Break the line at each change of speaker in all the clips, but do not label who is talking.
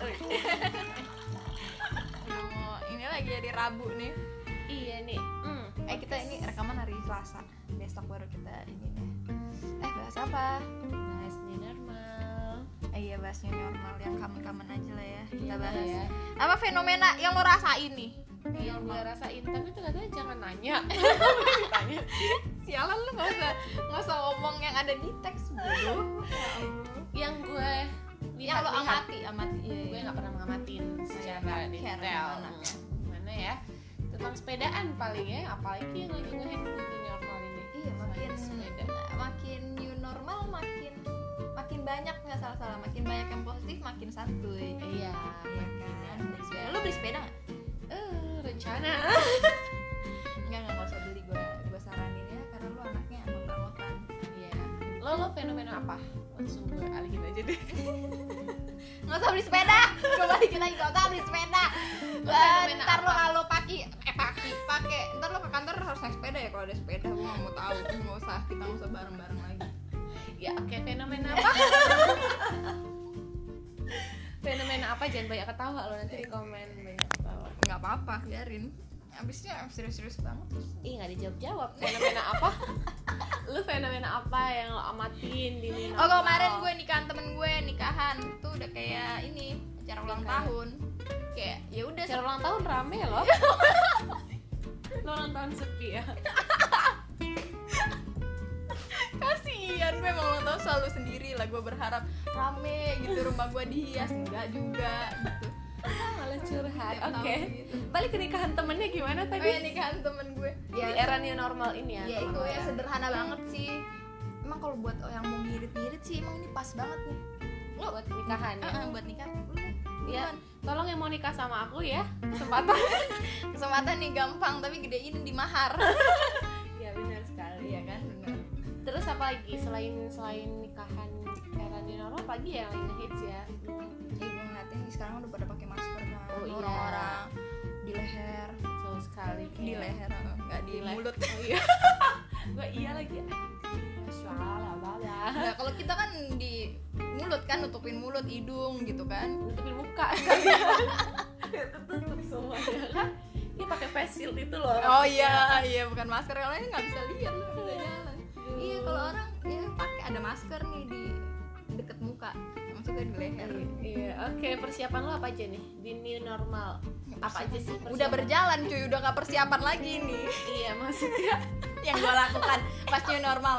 Iya
Hmm. Eh, stok baru kita ini deh eh bahas apa
bahas new normal
eh, iya bahasnya normal yang common-common aja lah ya kita
Iya
bahas
ya
apa fenomena yang lo rasain nih
yang gue rasain tapi ternyata jangan nanya tanya
sialan lu nggak usah nggak usah ngomong yang ada di teks bodoh
yang gue
yang lo
lihat-lihat,
amati amati iya,
gue
iya.
nggak pernah mengamatin secara
nggak care
detail
gimana.
Hmm, gimana ya tentang sepedaan paling ya apalagi yang lagi ngehits di normal ini
iya makin
Selain sepeda
makin new normal makin makin banyak nggak salah salah makin banyak yang positif makin santuy
iya
Iya kan beli sepeda lu beli sepeda nggak
eh rencana
nggak nggak nggak usah beli gue gue saranin ya karena lu anaknya anggot-anggotan
iya lo lo fenomena apa langsung gue alihin aja deh
nggak usah beli sepeda gue balikin lagi nggak usah beli sepeda
Lu
Eh,
fenomena
ntar lu
apa?
kalau paki eh paki pakai ntar lu ke kantor harus naik sepeda ya kalau ada sepeda gue nggak mau tahu nggak usah kita nggak usah bareng bareng lagi
ya oke fenomena apa fenomena apa jangan banyak ketawa lo nanti di komen banyak ketawa
nggak apa-apa biarin abisnya serius-serius banget
ih nggak dijawab jawab fenomena apa lu fenomena apa yang lo amatin di Minang?
Oh kemarin gue nikahan temen gue nikahan tuh udah kayak ini acara ulang
Nikahan.
tahun kayak ya udah
acara ulang tahun rame loh lo ulang tahun sepi ya
kasihan memang ulang tahun selalu sendiri lah gue berharap rame gitu rumah gue dihias enggak juga gitu
malah curhat
Tiap
oke
tahun gitu.
balik ke nikahan temennya gimana
Oh ya
tadi
nikahan temen gue
di era new normal ini ya
ya Iya, itu
teman-teman.
ya sederhana banget sih emang kalau buat yang mau ngirit-ngirit sih emang ini pas banget nih Lu-
buat nikahan ya
Ah, ah, buat nikah Lu deh,
Iya,
duluan.
tolong yang mau nikah sama aku ya kesempatan
kesempatan nih gampang tapi gedein di mahar
ya benar sekali
iya kan bener
terus apa lagi selain selain nikahan era new normal apalagi ya yang lagi ngehits ya
Iya gue ngeliatin nih sekarang udah pada pakai masker kan
Oh, iya.
orang-orang di leher,
betul sekali
di leher eh, nggak di,
le-
mulut.
oh, iya gue iya lagi masalah bala
Nah kalau kita kan di mulut kan nutupin mulut, hidung gitu kan.
nutupin muka tutup semuanya kan ini pakai face shield itu loh
Oh iya iya bukan masker kalau ini nggak bisa lihat lu bisa jalan.
Aduh.
Iya kalau orang ya pakai ada masker nih di deket muka, maksudnya di leher.
iya oke persiapan lo apa aja nih di new normal apa aja sih
Udah
persiapan?
berjalan cuy, udah nggak persiapan lagi nih
iya maksudnya
yang gue lakukan pas new normal.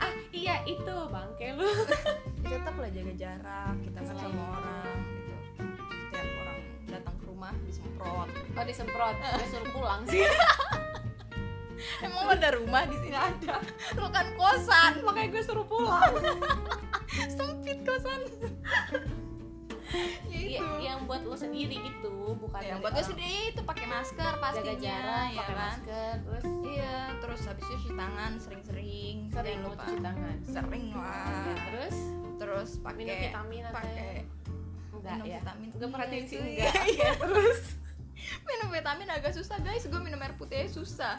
ah iya itu bangke lu
Ya, tetap lah jaga jarak kita kan
Selain
sama
itu.
orang gitu setiap orang datang ke rumah disemprot
oh disemprot gue suruh pulang sih
emang lo ada rumah di sini ada lo kan kosan
makanya gue suruh pulang
sempit kosan ya
Iya,
itu
yang buat lo sendiri gitu bukan
yang
dari
buat lo
orang.
sendiri itu pakai masker pastinya
jaga jarak
ya
pakai
kan
masker terus
iya terus habis itu cuci tangan sering-sering
sering
jangan
lo
lupa
cuci tangan
sering
Ya,
lah
terus
terus
minum
pakai
vitamin atau
pakai
enggak
minum
ya
vitamin
gue
Iya,
perhatiin sih
itu, iya.
enggak Oke, terus
minum vitamin agak susah guys gue minum air putih aja susah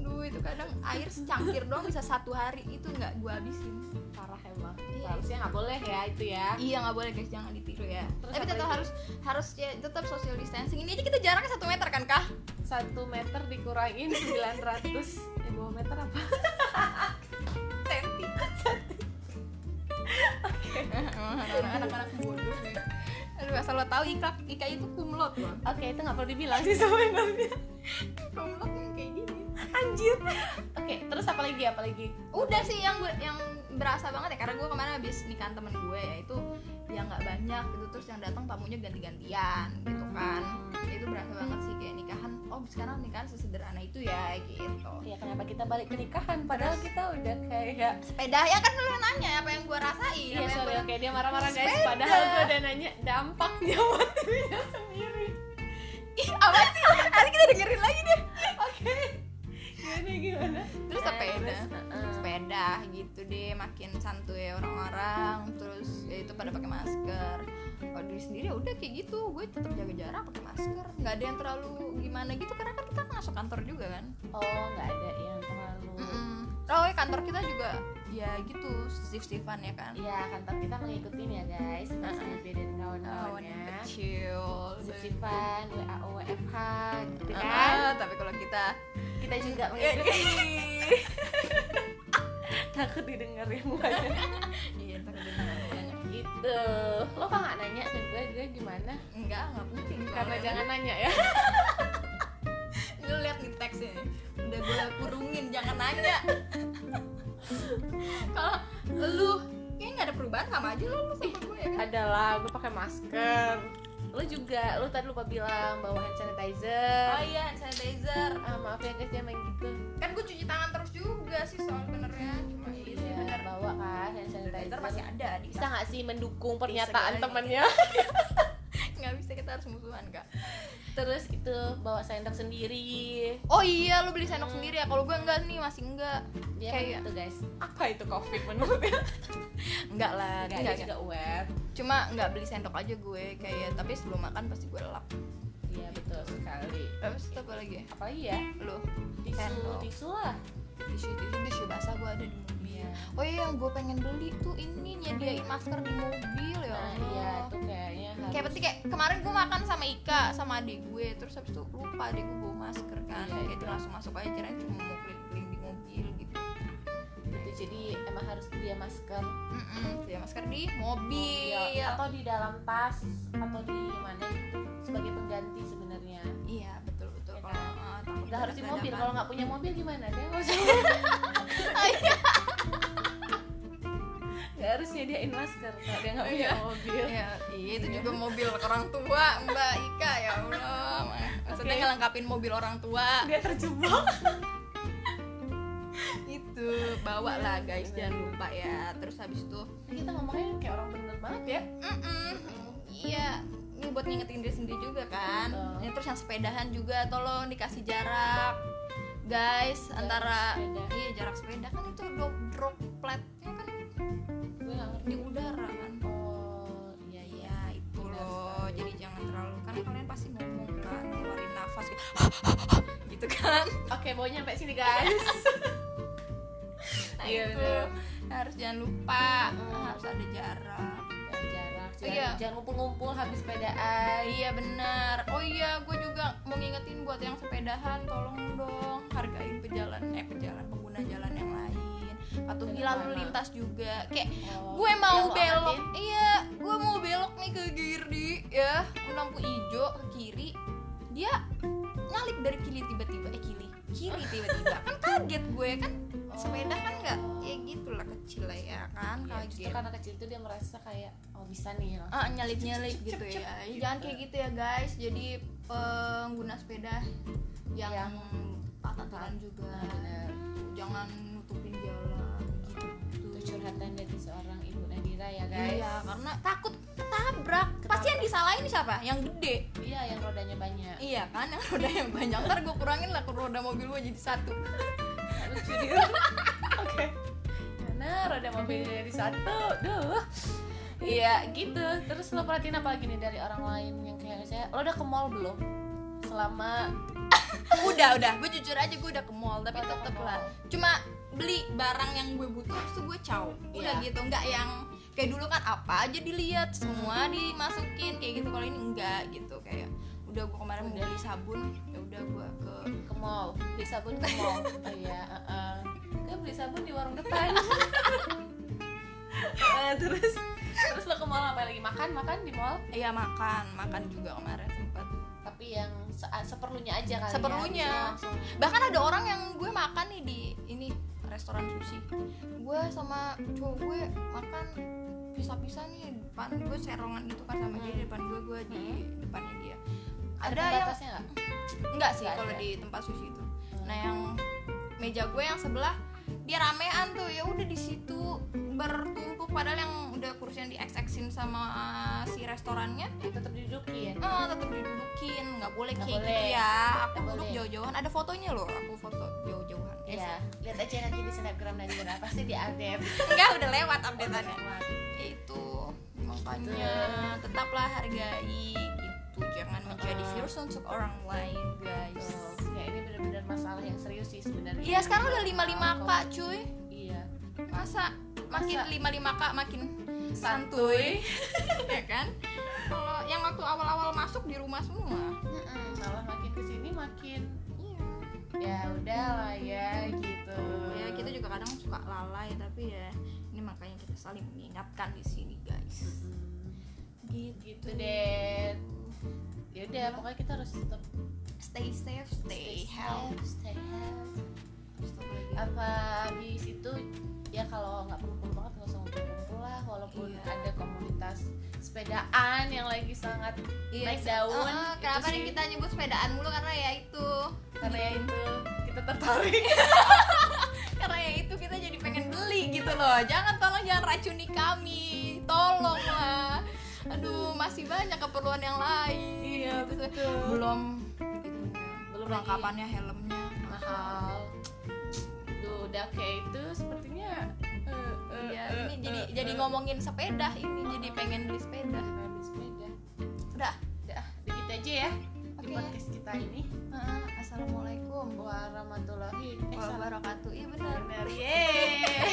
duh itu kadang air secangkir doang bisa satu hari itu nggak gue habisin
parah emang
Iya.
harusnya nggak boleh ya itu ya
iya nggak boleh guys jangan ditiru ya
Terus
tapi
apa
tetap
lagi?
harus harus ya, tetap social distancing ini aja kita jaraknya satu meter kan kah
satu meter dikurangin 900 eh dua meter apa
senti anak-anak bodoh nih. Aduh, asal lo tahu Ika, Ika itu kumlot loh.
oke itu nggak perlu dibilang sih sebenarnya
Kumlot yang kayak gini.
anjir oke terus apa lagi apa lagi
udah sih yang gue yang berasa banget ya karena gue kemarin habis nikahan temen gue ya itu yang nggak banyak gitu terus yang datang tamunya ganti-gantian gitu kan itu berasa banget sih kayak nikahan oh sekarang nikahan sesederhana itu ya gitu
ya kenapa kita balik ke nikahan padahal kita udah kayak
sepeda ya kan lu yang nanya apa yang gue rasain
Iya
apa yang
sorry,
gue-
oke dia marah-marah guys
Sepeda.
Padahal gue udah nanya dampaknya buat dirinya sendiri
ih apa sih nanti kita dengerin lagi deh
Oke Gimana gimana?
terus
Eh,
sepeda
terus, uh-uh.
sepeda gitu deh makin santuy orang-orang terus ya itu pada pakai masker kalau diri sendiri ya udah kayak gitu gue tetap jaga jarak pakai masker nggak ada yang terlalu gimana gitu karena kan kita masuk kantor juga kan
Oh nggak ada yang terlalu
mm oh ya kantor kita juga ya gitu shift shiftan ya kan
Iya kantor kita mengikuti ya guys Mas Bibi dan
Awan
kawan-kawannya
kecil
Sifan, WAO, WFH gitu
Ah,
kan
tapi kalau kita
Iya, Kita juga
Eh,
mengikuti
eh.
iya. takut didengar yang banyak
iya ntar kedengeran banyak.
gitu lo kok nggak nanya ke gue gue gimana
enggak enggak penting
karena
soalnya.
jangan nanya ya
lu lihat nih teksnya nih. udah gue kurungin jangan nanya kalau lu kayaknya nggak ada perubahan sama aja lu lu sama gue ya kan
adalah gue pakai masker lo juga lo tadi lupa bilang bawa hand sanitizer
oh iya hand sanitizer
ah, maaf ya guys jangan main gitu
kan gue cuci tangan terus juga sih soal benernya cuma iya sih
Iya,
bener
bawa kan hand
sanitizer
sanitizer
masih ada di
bisa nggak sih mendukung
lagi.
pernyataan temennya
nggak bisa kita harus musuhan kak
terus itu bawa sendok sendiri
oh iya lu beli sendok
Hmm.
sendiri ya kalau gue enggak nih masih enggak
dia
Kayak-
kayak gitu guys apa itu covid menurutnya
enggak lah
nggak
enggak,
dia juga aware
cuma enggak beli sendok aja gue kayak tapi sebelum makan pasti gue lap
iya betul sekali
terus itu apa lagi
apalagi ya
lu
tisu
Sendok.
tisu lah
tisu tisu tisu basah gue ada di mobil oh iya yang gue pengen beli tuh ini nyediain masker di mobil ya
nah
Allah.
iya itu kayaknya harus
kayak berarti kayak kemarin gue makan sama Ika sama adik gue terus habis itu lupa adik gue bawa masker kan
Iya,
kayak
iya.
dia langsung masuk aja kirain cuma mau keliling di mobil gitu
gitu jadi emang harus dia masker
Mm-mm, dia masker di mobil
Iya, atau di dalam tas atau di mana sebagai pengganti sebenarnya
iya betul betul
Iya,
kalau uh, takut
nggak harus di mobil
dadakan.
kalau nggak punya mobil gimana dia nggak usah nggak harus nyediain masker kalau dia nggak punya
Iya.
mobil
Iya, iya, itu
Iya.
juga mobil orang tua Mbak Ika ya Allah. Maksudnya
Oke.
ngelengkapin mobil orang tua.
dia terjebak Gitu.
itu bawa lah
Iya,
guys jangan lupa ya terus habis itu
kita ngomongnya kayak orang bener banget ya
"Mm-mm, iya ini buat ngingetin diri sendiri juga kan
Betul.
ini terus yang sepedahan juga tolong dikasih jarak guys antara
sepeda.
iya jarak sepeda kan itu drop dropletnya kan
gue nggak ngerti
di udara kan
oh iya iya
iya itu
Benar
loh
sekali.
jadi jangan terlalu karena kalian pasti ngomong kan ngeluarin nafas gitu, gitu kan
oke mau nyampe sini guys
nah,
Iya,
itu
benar.
harus jangan lupa
Mm.
harus ada jarak
Jangan jarak
Oh,
jangan,
iya.
jangan ngumpul-ngumpul habis
Ah,
sepedaan
iya benar. Oh iya, gue juga mau ngingetin buat yang sepedahan, tolong dong hargain pejalan eh pejalan pengguna jalan yang lain. Patuhi
Benar
lalu
banget.
lintas juga. Kayak
Oh,
gue
yang
mau
lo
belok.
amatin,
Iya, gue mau belok nih ke kiri ya. Lampu hijau ke kiri. Dia nyalip dari kiri tiba-tiba eh kiri kiri tiba-tiba kan kaget gue kan
oh,
sepeda kan nggak ya gitulah kecil lah ya kan
Iya, justru
kaget
karena kecil itu dia merasa kayak oh bisa nih langsung
ah nyalip nyalip
Cep, cep,
gitu
cep,
ya
cep.
jangan kayak gitu ya guys jadi pengguna sepeda yang,
Yang
patah jalan juga
nah, benar
jangan nutupin jalan
itu
gitu
curhatan dari seorang ibu Nadira ya guys
iya karena takut ketabrak pasti yang disalahin siapa yang gede
iya yang rodanya banyak
iya kan yang roda yang banyak ntar gue kurangin lah ke roda mobil gue jadi satu
Nggak lucu dia oke karena roda mobilnya dari satu duh iya gitu terus lo perhatiin apa lagi nih dari orang lain yang kayak saya lo udah ke mall belum selama
udah udah gue jujur aja gue udah ke mall tapi
Lo udah ke
tetep
mall?
lah cuma beli barang yang gue butuh terus gue caw udah
Iya.
gitu nggak yang kayak dulu kan apa aja dilihat semua dimasukin kayak gitu kalau ini enggak gitu kayak udah gue kemarin mau
Udah.
beli sabun ya udah gue ke
ke mall beli sabun ke mall oh, iya uh-uh. gue beli sabun di warung depan Eh, terus terus lo ke mall apa lagi makan makan di mall
iya makan makan juga kemarin sempat
tapi yang se- seperlunya aja kali ya.
Seperlunya.
Bisa langsung
bahkan ada orang yang gue makan nih di ini restoran sushi gue sama cowok gue makan pisah-pisah nih depan gue serongan gitu kan sama dia di depan gue gue di depannya dia Hmm. ada yang
pembatasnya nggak?
Enggak sih
Nggak
kalau
ada.
di tempat sushi itu. Nah, yang meja gue yang sebelah dia ramean tuh ya udah di situ bertumpuk padahal yang udah kursian di XX-in sama uh, si restorannya
tetap didudukin
eh, tetap didudukin nggak boleh
Nggak
kayak gitu
boleh.
ya aku
Nggak
duduk
boleh.
jauh-jauhan ada fotonya loh aku foto jauh-jauhan
Iya, lihat aja nanti di snapgram dan Mira pasti di update.
enggak udah lewat updateannya itu makanya tetaplah hargai gitu jangan menjadi
Uh-uh.
virus untuk orang lain guys
Ya ini benar-benar masalah yang serius sih sebenarnya.
iya sekarang udah 55 kak cuy
Iya.
masa makin
Masa?
lima lima kak makin santuy ya kan kalau yang waktu awal awal masuk di rumah semua
Malah makin kesini makin
iya
ya udah lah ya gitu
ya kita juga kadang suka lalai tapi ya ini makanya kita saling mengingatkan di sini guys
gitu, gitu deh ya udah pokoknya kita harus tetap
stay safe stay, healthy
safe, stay healthy
Terus apa lagi?
apa habis itu ya kalau nggak perlu-perlu banget nggak usah ngumpul-ngumpul lah walaupun
Iya.
ada komunitas sepedaan yang lagi sangat
Iya,
naik daun,
eh, eh,
itu
kenapa nih
sih.
kita nyebut sepedaan mulu karena ya itu
karena
Iya.
ya itu kita tertarik
karena ya itu kita jadi pengen beli gitu loh jangan tolong jangan racuni kami tolong lah aduh masih banyak keperluan yang lain
Iya,
Gitu.
betul.
belum
Belum
belum
lagi.
perlengkapannya helmnya mahal
mahal Duh, udah kayak itu sepertinya eh, eh,
Iya,
eh,
ini jadi
eh,
jadi
eh,
ngomongin sepeda ini jadi pengen beli sepeda
pengen sepeda
udah
udah begitu aja ya di
Oke.
podcast kita ini
assalamualaikum
warahmatullahi eh, salam.
wabarakatuh iya benar
Yeay.